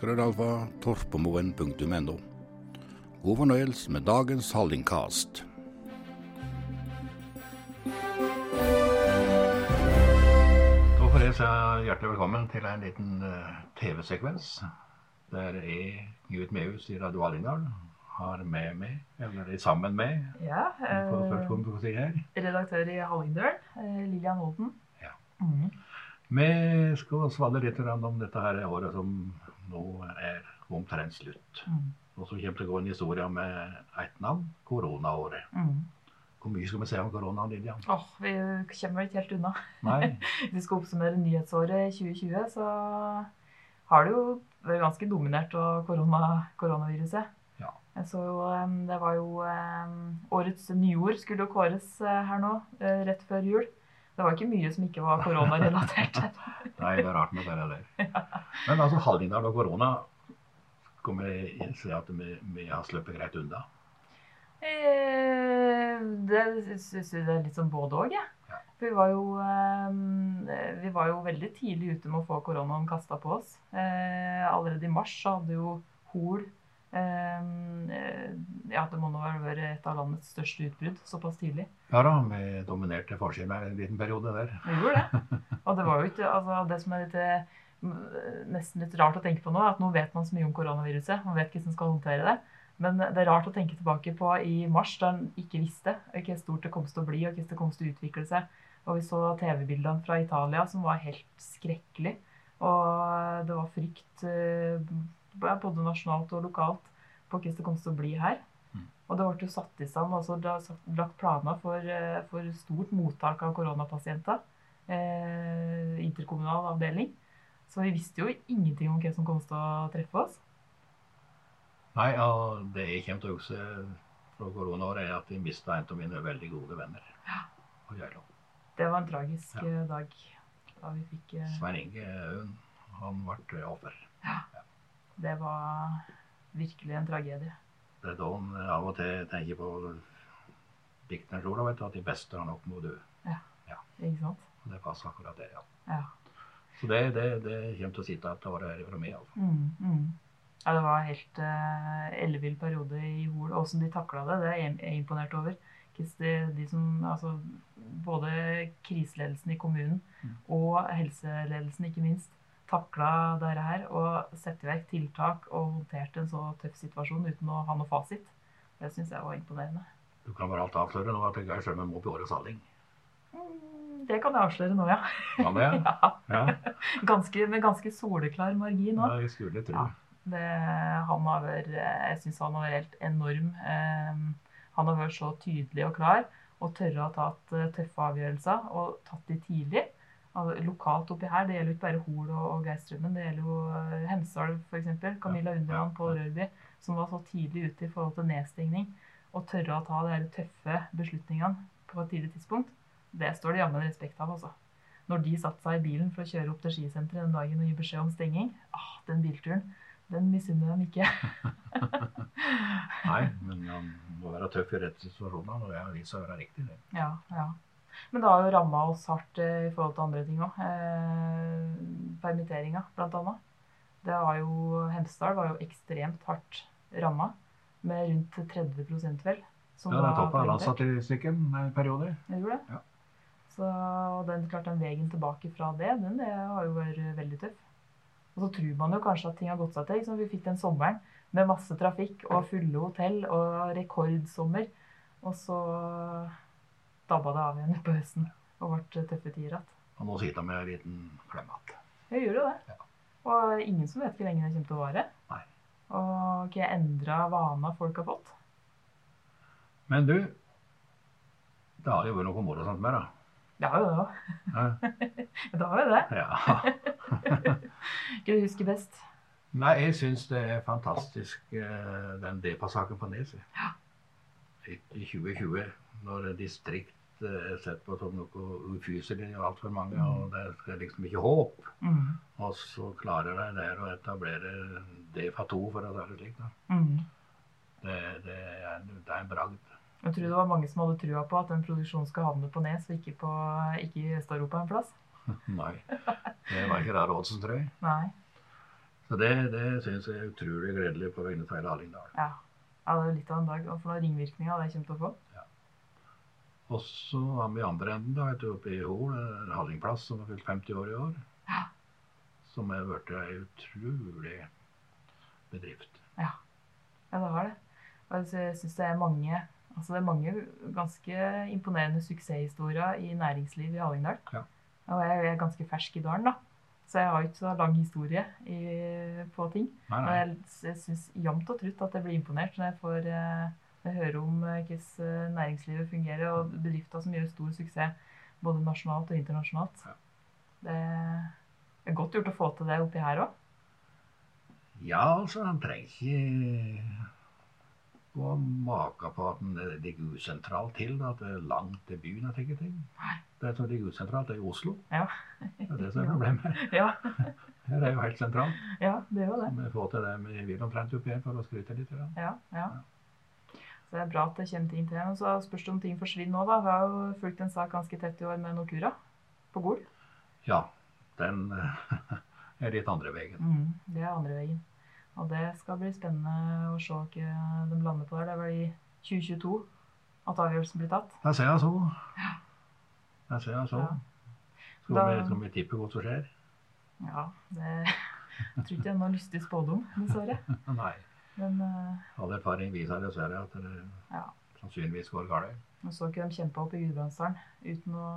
krøllalfa torpemoen.no. God fornøyelse med dagens Hallingkast. Da får jeg si hjertelig velkommen til en liten eh, TV-sekvens. Der jeg, Knut Mehus i Radio Hallingdal, har med meg, eller er sammen med, Ja. for eh, første gang på si her. redaktør i Hallingdølen, eh, Lillian Holten. Ja. Mm. Vi skal svale litt grann om dette her året som nå er omtrent slutt. Mm. Og så kommer det til å gå en historie med ett navn, koronaåret. Mm. Hvor mye skal vi se om koronaen, Lillian? Åh, vi kommer vel ikke helt unna. Nei? Hvis vi skal oppsummere nyhetsåret 2020, så har det jo vært ganske dominert av korona, koronaviruset. Ja. Jeg så jo, em, det var jo em, Årets nyord skulle jo kåres eh, her nå, eh, rett før jul. Det var ikke mye som ikke var koronarelatert. Nei, det er rart med det der. Men altså, Hallingdal og korona skal vi se at vi, vi har sluppet greit unna. Eh, Det syns jeg det er litt sånn både òg, jeg. Ja. For vi var, jo, eh, vi var jo veldig tidlig ute med å få koronaen kasta på oss. Eh, allerede i mars så hadde jo Hol eh, eh, Ja, det må nå ha vært et av landets største utbrudd såpass tidlig. Ja da, vi dominerte forsiden her en liten periode der. Vi gjorde det. Og det var jo ikke altså, Det som er litt, eh, m- nesten litt rart å tenke på nå, er at nå vet man så mye om koronaviruset. Man vet ikke hvordan man skal håndtere det. Men det er rart å tenke tilbake på i mars, da en ikke visste hvor stort det kom til å bli, og hvordan det kom til å utvikle seg. Og vi så TV-bildene fra Italia som var helt skrekkelig. Og det var frykt eh, både nasjonalt og lokalt på hvordan det kom til å bli her. Mm. Og det ble jo satt i stand, altså det er satt- lagt planer for, eh, for stort mottak av koronapasienter eh, interkommunal avdeling. Så vi visste jo ingenting om hvem som kom til å treffe oss. Nei, og det jeg kommer til å huske fra koronaåret, er at vi mista en av mine veldig gode venner. på Gjøylo. Det var en tragisk Ja. eh, dag da vi fikk eh, Svein Inge Øen, han ble offer. Det var virkelig en tragedie. Det er da han av og til tenker på dikteren Ola, vet du, at de beste har nok med å dø. Ikke sant? Og det passer akkurat det, ja. Ja. Så det, det, det kommer til å sitte etter året her fra meg. Altså. Mm, mm. ja det var en helt eh, ellevill periode i Hol. Og hvordan de takla det, det er jeg- jeg imponert over. Hvordan De, de som, altså, både kriseledelsen i kommunen Mm. og helseledelsen, ikke minst, takla dette her og satte i verk tiltak og håndterte en så tøff situasjon uten å ha noe fasit. Det syns jeg var imponerende. Du kan bare alt avsløre nå at Geir Strømmen må på årets halling. Mm, Det kan jeg avsløre nå, ja. Kan det? ja Ja, ganske, med ganske soleklar margin òg. ja jeg skulle tro. Ja. Det, han har vært, jeg syns han har vært helt enorm. Eh, han har vært så tydelig og klar, og tørre å ha tatt eh, tøffe avgjørelser, og tatt de tidlig. Altså, lokalt oppi her, det gjelder jo ikke bare Hol og, og Geirstrømmen, det gjelder jo eh, Hemsedal f.eks. Camilla ja, Underland på ja. Rørby, som var så tidlig ute i forhold til nedstengning. Og tørre å ta de her tøffe beslutningene på et tidlig tidspunkt, det står det jammen respekt av, altså. Når de satte seg i bilen for å kjøre opp til skisenteret den dagen og gi beskjed om stenging, ah, den bilturen, den misunner de ikke. Nei, men han må være tøff i rette situasjoner, og jeg har vist seg å være riktig. det. Ja, ja. Men det har jo ramma oss hardt eh, i forhold til andre ting òg. Eh, permitteringa, blant annet. Det var jo, Hemsedal var jo ekstremt hardt ramma, med rundt 30 vel. som Ja, den toppa var permittert. altså. landsstatistikken en periode. Jeg gjorde det. Ja. Så og den, klart den veien tilbake fra det, den det har jo vært eh, veldig tøff. Og så tror man jo kanskje at ting har gått seg til. Liksom, vi fikk den sommeren med masse trafikk og fulle hotell og rekordsommer. Og så eh, dabba det av igjen på høsten og ble eh, tøffe tider igjen. Og nå sitter han med en liten klem igjen. Jeg gjorde jo det. Ja. Og ingen som vet hvor lenge det kommer til å vare. Nei. Og hva endra vaner folk har fått. Men du, det har jo vært noe morsomt med det. Det har jo det òg. Hæ? Det har jo det. Ja. Ikke du husker best. Nei, jeg syns det er fantastisk, eh, den DEPA-saken på Neset. I i 2020, når distrikt eh, er sett på som noe ufyselig og altfor mange, Mm. og det er liksom ikke håp. Mm. Og så klarer de der å etablere E DEPA2, for å si det slik. Da. Mm. Det, det, er, det er en bragd. Jeg tror det var mange som hadde trua på at den produksjonen skal havne på Nes og ikke, på, ikke i Øst-Europa en plass. Nei. Det var ikke rar Oddsen, tror jeg. Nei. Så det, det syns jeg er utrolig gledelig på vegne av hele Hallingdal. Ja. ja det er jo litt av en dag. Og for noen ringvirkninger det kommer til å få. Og så har vi i andre enden, da, vet du, oppe i Hol, eh, Hallingplass, som har fylt 50 år i år. Ja. Som er blitt ei utrolig bedrift. Ja, det var det. Og jeg sy- synes det er mange altså det er mange ganske imponerende suksesshistorier i næringslivet i Hallingdal. Ja. Og jeg er ganske fersk i dalen, da. Så jeg har jo ikke så lang historie i, på ting. Nei, Men nei. jeg, s- jeg syns jevnt og trutt at jeg blir imponert når jeg får eh, når jeg hører om eh, hvordan eh, næringslivet fungerer, og bedrifter som gjør stor suksess både nasjonalt og internasjonalt. Ja. Det er godt gjort å få til det oppi her òg. Ja, altså, han trenger ikke gå maka på at den ligger usentralt til, da, at det er langt til byen og slike ting. Nei. Det som ligger usentralt, det er i Oslo. Ja. Det er det som er problemet. Ja, Her er jo helt sentralt. ja, det er jo det. Vi får til det vi vil omtrent oppi her, for å skryte litt. grann. Ja, ja. Så det er bra at det kommer ting til. Men så spørs det om ting forsvinner nå, da. Vi har jo fulgt en sak ganske tett i år med Nortura på Gol. Ja, den eh, er litt andre veien. Det er andre veien. Og det skal bli spennende å se hva de lander på der. Det er vel i 2022 at avgjørelsen blir tatt. Der ser jeg så. Der ser jeg så. Ja. Skal Da- vi, skal vi tippe hva som skjer? Ja, det jeg tror ikke jeg er noen lystig spådom, dessverre. Nei. Men eh, All erfaring viser dessverre at det Ja. sannsynligvis går galt. nå så ikke de kjempe opp i Gudbrandsdalen uten å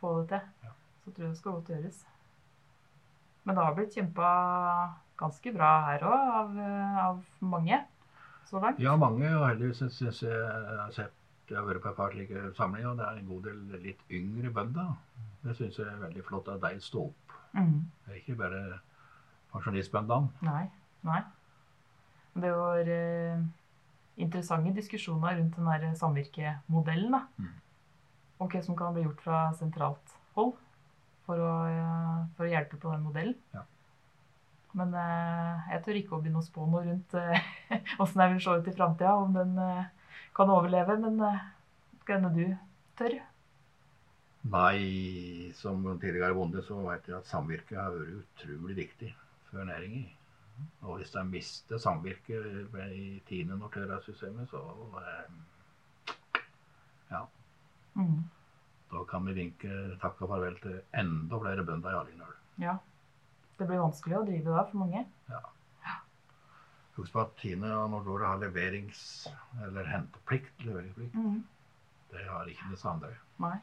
få det til. Ja. Så tror jeg det skal godt gjøres. Men det har blitt kjempa ganske bra her òg, av, eh, av mange så langt. Ja, mange, og heldigvis syns jeg jeg har sett jeg har vært på et par slike samlinger, og det er en god del litt yngre bønder. Det syns jeg er veldig flott at de står opp. Mm. Det er ikke bare pensjonistbøndene. Nei. Nei. Men Det var eh, interessante diskusjoner rundt den der samvirkemodellen. da. Mm. Og hva som kan bli gjort fra sentralt hold for å, eh, for å hjelpe på den modellen. Ja. Men eh, jeg tør ikke å begynne å spå noe rundt åssen jeg vil se ut i framtida, om den eh, kan overleve. Men eh, skal hende du tør. Nei, som tidligere bonde så vet jeg at samvirket har vært utrolig viktig for næringen. Og hvis de mister samvirket i tiende Nortura-systemet, så eh, Mm. da kan vi vinke takk og farvel til enda flere bønder i Hallingdal. Ja. Det blir vanskelig å drive da for mange. Husk på at Tine og Nordora har leverings- eller henteplikt. leveringsplikt. Mm. Det har ikke disse andre. Nei.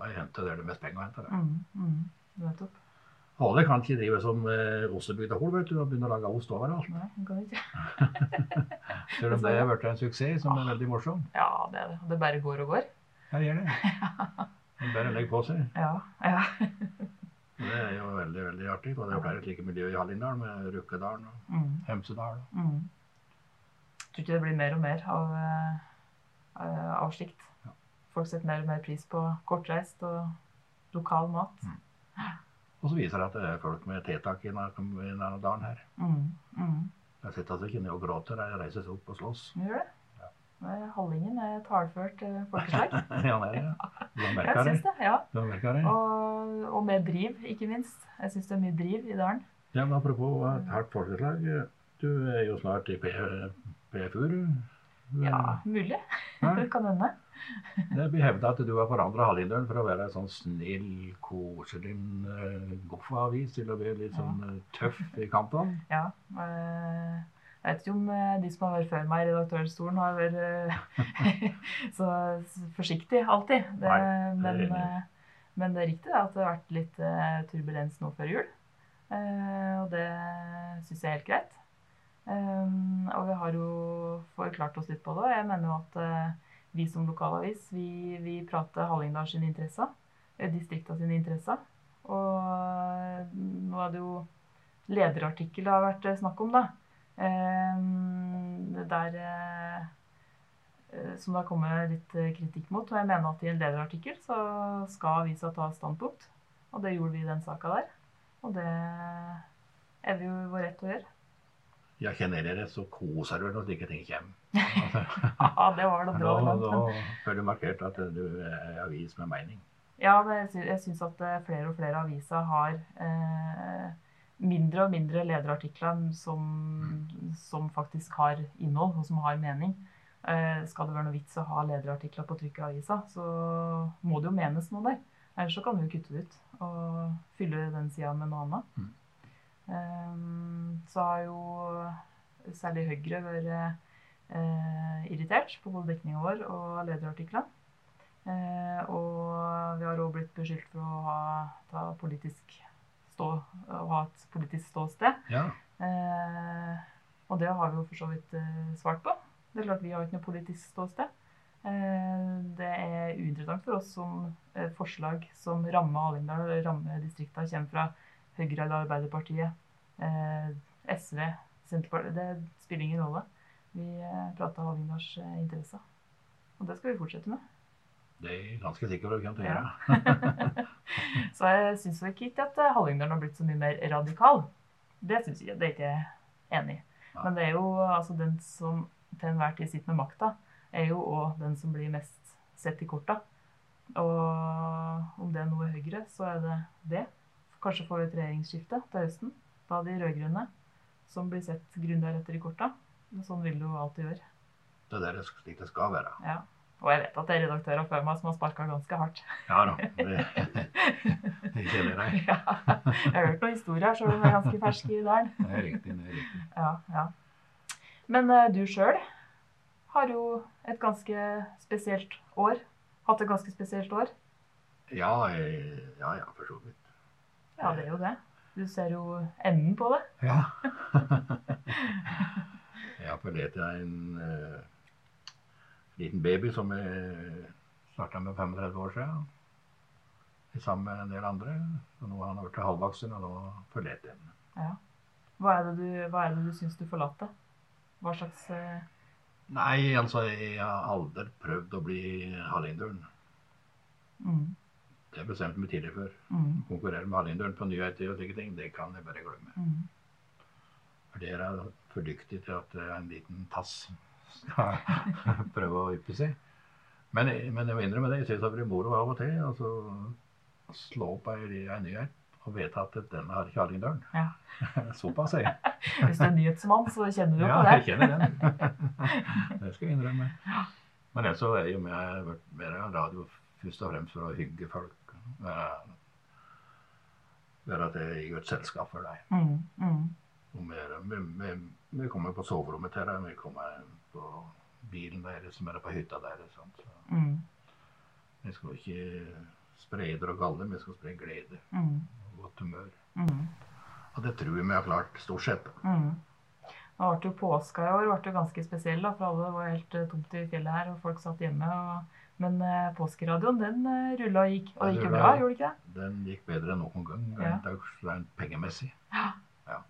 De henter der det er mest penger å hente. der. Mm. Mm. Nettopp. Alle kan ikke drive som eh, ostebygda Hol vet du, og begynne å lage ost overalt. Nei, hun kan ikke. Selv om det har blitt en suksess som er veldig morsom. Ja, det er det. Det bare går og går. Ja, gjør det. Det er Bare legg på seg. Ja. ja. Det er jo veldig veldig artig. Og det er flere slike miljøer i Hallingdal, med Rukkedalen og Mm, Hemsedal. mm. Jeg tror ikke det blir mer og mer av, eh, eh, av slikt. Ja. Folk setter mer og mer pris på kortreist og lokal mat. Mm. Og så viser det at det er folk med tetak i denne i denne dalen her. Mm. Mm. De sitter altså ikke ned og gråter, de reiser seg opp og slåss. Gjør det? Det er- Hallingen er et hardført eh, folkeslag. ja, det er det. Du har Jeg merka det. syns det. Ja. Du har merket det. Og, og med driv, ikke minst. Jeg syns det er mye driv i dalen. Ja, men apropos et hardt folkeslag. Du er jo snart i P- PFU, du. Mm. Ja, mulig. Hæ? Det kan hende. Det blir hevda at du har forandra Hallingdølen fra å være en sånn snill, koselig eh, goffa-avis til å bli litt sånn eh, tøff i kampene. Ja. eh, Jeg vet ikke om eh, de som har vært før meg i redaktørstolen, har vært eh, så forsiktig alltid. Det, Nei, det er men, jeg enig i. eh, men det er riktig da, at det har vært litt eh, turbulens nå før jul. Eh, Og det syns jeg er helt greit. Eh, Og vi har jo forklart oss litt på det. og Jeg mener jo at eh, vi som lokalavis, vi, vi prater Hallingdal sine interesser. eh, Distrikta sine interesser. Og nå eh, er det jo lederartikkel det har vært eh, snakk om, da. Eh, Der eh, eh, Som det har kommet litt eh, kritikk mot. Og jeg mener at i en lederartikkel så skal avisa ta et standpunkt. Og det gjorde vi i den saka der. Og det er vi jo i vår rett til å gjøre. Ja, kjenner jeg dere, så koser du deg når slike ting kommer. Ja, det var da bra. Da, langt, da men- får du markert at eh, du er avis med mening. Ja, men jeg sy- jeg syns at eh, flere og flere aviser har eh, mindre og mindre lederartikler som, som faktisk har innhold, og som har mening. Eh, skal det være noe vits å ha lederartikler på trykk i avisa, så må det jo menes noe der. Ellers så kan du jo kutte det ut og fylle den sida med noe annet. Mm. Eh, så har jo særlig Høyre vært eh, irritert på både dekninga vår og lederartiklene. Eh, og vi har òg blitt beskyldt for å ha, ta politisk stå, å ha et politisk ståsted. Ja, Eh, og det har vi jo for så vidt eh, svart på. Det er klart Vi har jo ikke noe politisk ståsted. Eh, det er uinteressant for oss som eh, forslag som rammer Hallingdal, eller rammer distriktene, kommer fra Høyre eller Arbeiderpartiet, eh, SV, Senterpartiet Det spiller ingen rolle. Vi eh, prater Hallingdals eh, interesser. Og det skal vi fortsette med. det er jeg ganske sikker på at du kommer til å gjøre. Så jeg syns vel ikke at eh, Hallingdalen har blitt så mye mer radikal. Det syns jeg, det er ikke jeg enig i. Men det er jo altså den som til enhver tid sitter med makta, er jo òg den som blir mest sett i korta. Og om det er noe Høyre, så er det det. Kanskje får vi et regjeringsskifte til høsten. Da de rød-grønne som blir sett grunnderetter i korta. Men sånn vil det jo alltid gjøre. Det er det det- slik det skal være. Ja. Og jeg vet at det er redaktører før meg som har sparka ganske hardt. Ja da. Det, jeg kjenner deg. Ja. Jeg har hørt noen historier, selv om jeg er ganske fersk i dalen. Det er riktig. det er riktig. Ja, ja. Men eh, du sjøl har jo et ganske spesielt år. Hatt et ganske spesielt år. Ja, jeg, ja, ja, for så vidt. Ja, det er jo det. Du ser jo enden på det. Ja. jeg appellerte til en eh, liten baby som jeg starta med 35 år siden. Sammen med en del andre. Og nå har han blitt halvvoksen, og nå forlater jeg ham. Hva er det du, hva er det du syns du forlater? Hva slags eh, Nei, altså, jeg har aldri prøvd å bli Hallingdølen. mm, Det bestemte jeg meg tidlig for. mm, Konkurrere med Hallingdølen på nyheter og slike ting, det kan jeg bare glemme. mm. For dere er for dyktige til at eh, en liten tass skal prøve å yppe seg. Men, men jeg må innrømme det, jeg syns det blir moro av og til. Altså, å slå opp ei, ei nyhet og vite at denne har ikke Hallingdølen. Ja. Såpass, jeg. Hvis du er nyhetsmann, så kjenner du jo Ja, på jeg det. kjenner den. Det skal jeg innrømme. Men ellers så er jeg jo med vært mer av radio først og fremst for å hygge folk. Være- Være at jeg gjør et selskap for deg. Mm, mm, Og mer, vi, vi, vi kommer på soverommet til dem, vi kommer på bilen deres, som er på hytta deres. sant? Så mm, vi skal ikke spre og galle, vi skal spre glede mm, og godt humør. mm. Og det tror jeg vi har klart stort sett. Mm. Det ble jo påska i år, ble jo ganske spesiell, da, for alle var helt eh, tomt i fjellet her, og folk satt hjemme. Og... Men eh, påskeradioen, den eh, rulla og gikk, og det gikk Den jo rullet, bra, ja. gjorde det ikke det? Den gikk bedre enn noen gang, Ja. rent, rent pengemessig. Ja. Ja.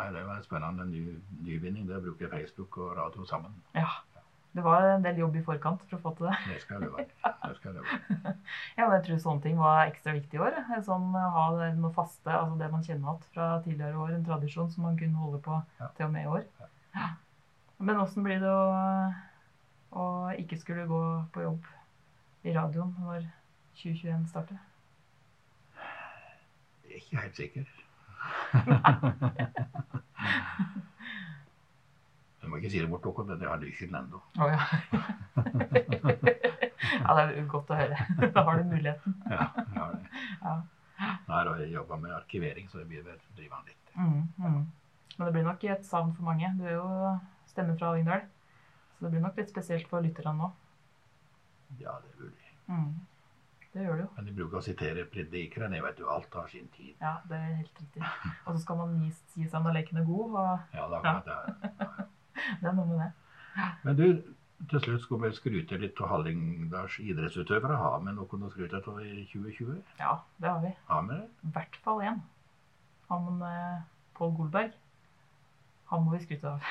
Nei, det var en spennende ny, nyvinning. Det bruker Facebook og radio sammen. Ja. Det var en del jobb i forkant for å få til det. Det skal jeg love. deg. Det skal jeg love. deg. Ja, men jeg tror sånne ting var ekstra viktig i år. eh, Sånn eh, ha det- noe faste, altså det man kjenner igjen fra tidligere år, en tradisjon som man kunne holde på Ja. til og med i år. Ja. Men åssen blir det å, å ikke skulle gå på jobb i radioen når 2021 starter? Jeg er Ikke helt sikker. Jeg må ikke si det bort, Håkon. men Jeg har lykken ennå. Å ja. ja, det er godt å høre. Da har du muligheten. Ja, jeg har det. Ja. Nei, da har jeg jobba med arkivering, så jeg blir vel driver han litt. Mm, mm. Men det blir nok et savn for mange. Du er jo stemme fra Hallingdal. Så det blir nok litt spesielt for lytterne nå. Ja, det er mulig. Mm. Det gjør det jo. Men de bruker å sitere predikeren. Jeg vet jo alt har sin tid. Ja, det er helt riktig. Og så skal man gi, si seg når leken er god, og Ja, da kan jeg det er noe med det. Men du, til slutt skulle vi skryte litt av Hallingdals idrettsutøvere. Har vi noen å skryte av i 2020? Ja, det har vi. Har vi det? I hvert fall én. Han eh, Pål Golberg. Han må vi skryte av.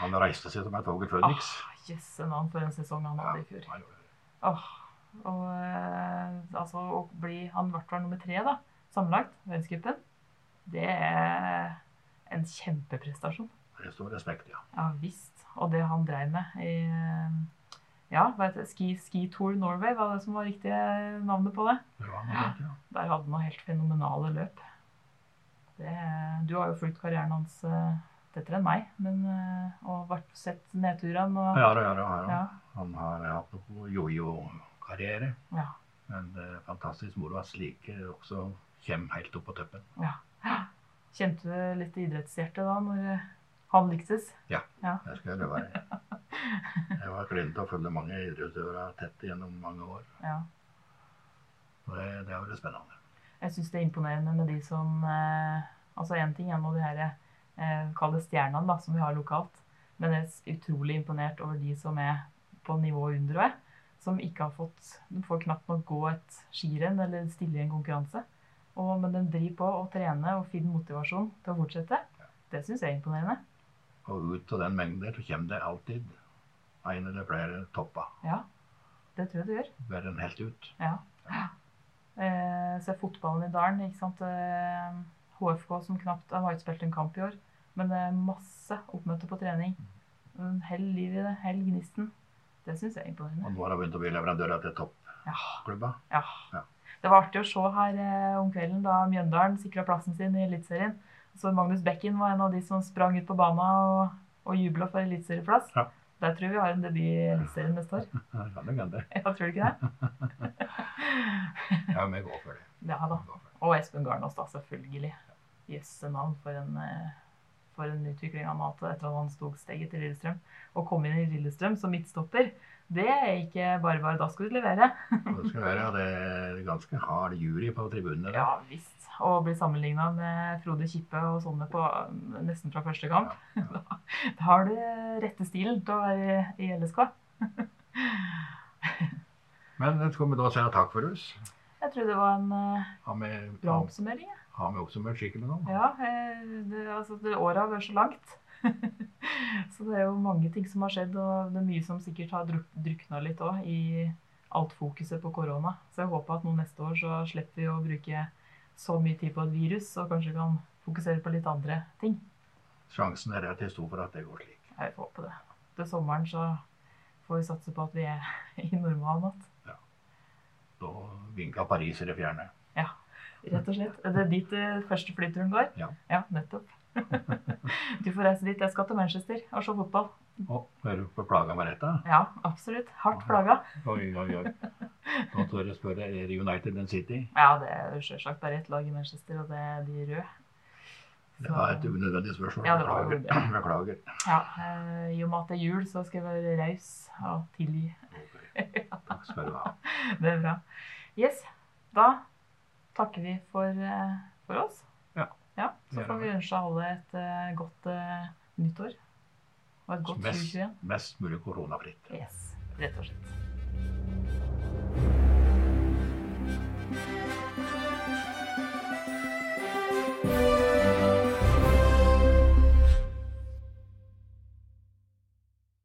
Han reiste seg som et tog i Phoenix. Ah. Yes, en annen for en sesong han hadde i fjor. han gjorde det. Åh, og eh, altså, å bli han i hvert fall nummer tre da, sammenlagt, verdenscupen, det er en kjempeprestasjon. det står respekt, ja. Ja visst. Og det han drev med i eh, ja, hva heter det? Ski, Ski Tour Norway, var det som var riktige navnet på det. Det var noe annet, ja. Der hadde han noen helt fenomenale løp. Det, du har jo fulgt karrieren hans eh, tettere enn meg, men, eh, og vært sett nedturene. Og, Ja, ja, ja, ja. Ja. Han har hatt noe jojo-karriere. Ja. Men det er fantastisk moro at slike eh, også kommer helt opp på toppen. Kjente du litt idrettshjerte da, når eh, han lyktes? Det skal jeg love deg. Jeg var klønete å følge mange idrettsutøvere tett gjennom mange år. Ja. Og det, det er veldig spennende. Jeg syns det er imponerende med de som eh, Altså én ting er nå de her eh, kalde stjernene da, som vi har lokalt, men jeg er s- utrolig imponert over de som er på nivået under meg, som ikke har fått De får knapt nok gå et skirenn eller stille i en konkurranse. Og, men de driver på og trener og finner motivasjon til å fortsette. Det syns jeg er imponerende. Og ut av den mengden der så kommer det alltid en eller flere topper. Ja, det tror jeg det gjør. Bærer en helt ut. Ja. Eh, se fotballen i dalen, ikke sant. Eh, HFK som knapt de har ikke spilt en kamp i år, men det er masse oppmøte på trening. Mm, Hell liv i det, hell gnisten. Det syns jeg er Og imponerende. nå har jeg begynt å bli leverandør til Ja, toppklubba. ja. Ja. Det var artig å se her eh, om kvelden da Mjøndalen sikra plassen sin i Eliteserien. Så Magnus Bekken var en av de som sprang ut på banen og, og jubla for eliteserieplass. Ja. Der tror jeg vi har en debut i Eliteserien neste år. Ja, det kan hende. Ja, tror du ikke det? Ja, vi går for det. Ja Vi da. går for det. Og Espen Garnås, da, selvfølgelig. Jøsse navn for en, eh, for en utvikling han har hatt etter at han tok steget til Lillestrøm. Å komme inn i Lillestrøm som midtstopper, det er ikke bare bare. Da skal du levere. Og det skal være det er ganske hard jury på tribunene. der. Ja visst. Og bli sammenligna med Frode Kippe og sånne på eh, nesten fra første kamp. Da, da har du rette stilen til å være i i LSK. Men skal vi da si takk for oss? Jeg tror det var en eh, Har vi, bra oppsummering. jeg. har vi oppsummert skikkelig nå? Ja, eh, det, altså, det, året har vært så langt. så det er jo mange ting som har skjedd, og det er mye som sikkert har druk, drukna litt òg i alt fokuset på korona. Så jeg håper at nå neste år så slipper vi å bruke så mye tid på et virus, og kanskje kan fokusere på litt andre ting. Sjansen er relativt stor for at det går slik. Jeg får håpe det. Til sommeren så får vi satse på at vi er i normalen igjen. Da vinka Paris i det fjerne. Rett og slett. Er Det er dit eh, første flyturen går? Ja. nettopp. du får reise dit. Jeg skal til Manchester og se fotball. Å, hører du på plaga med retta? Ja, absolutt. Hardt plaga. Oi, oi, oi. Nå tør jeg spørre, er det United and City? Ja, det er jo selvsagt bare ett lag i Manchester, og det er de røde. Det var et unødvendig spørsmål. Ja, det var jo Beklager. Beklager. Ja, eh, I og med at det er jul, så skal jeg være raus og tilgi. Ok. Takk skal du ha. Det er bra. Yes, da takker vi for, eh, for oss. Ja. Så får vi ønske alle et eh, godt eh, nyttår og et godt Mest, 2021. mest mulig koronafritt. Yes, rett og slett.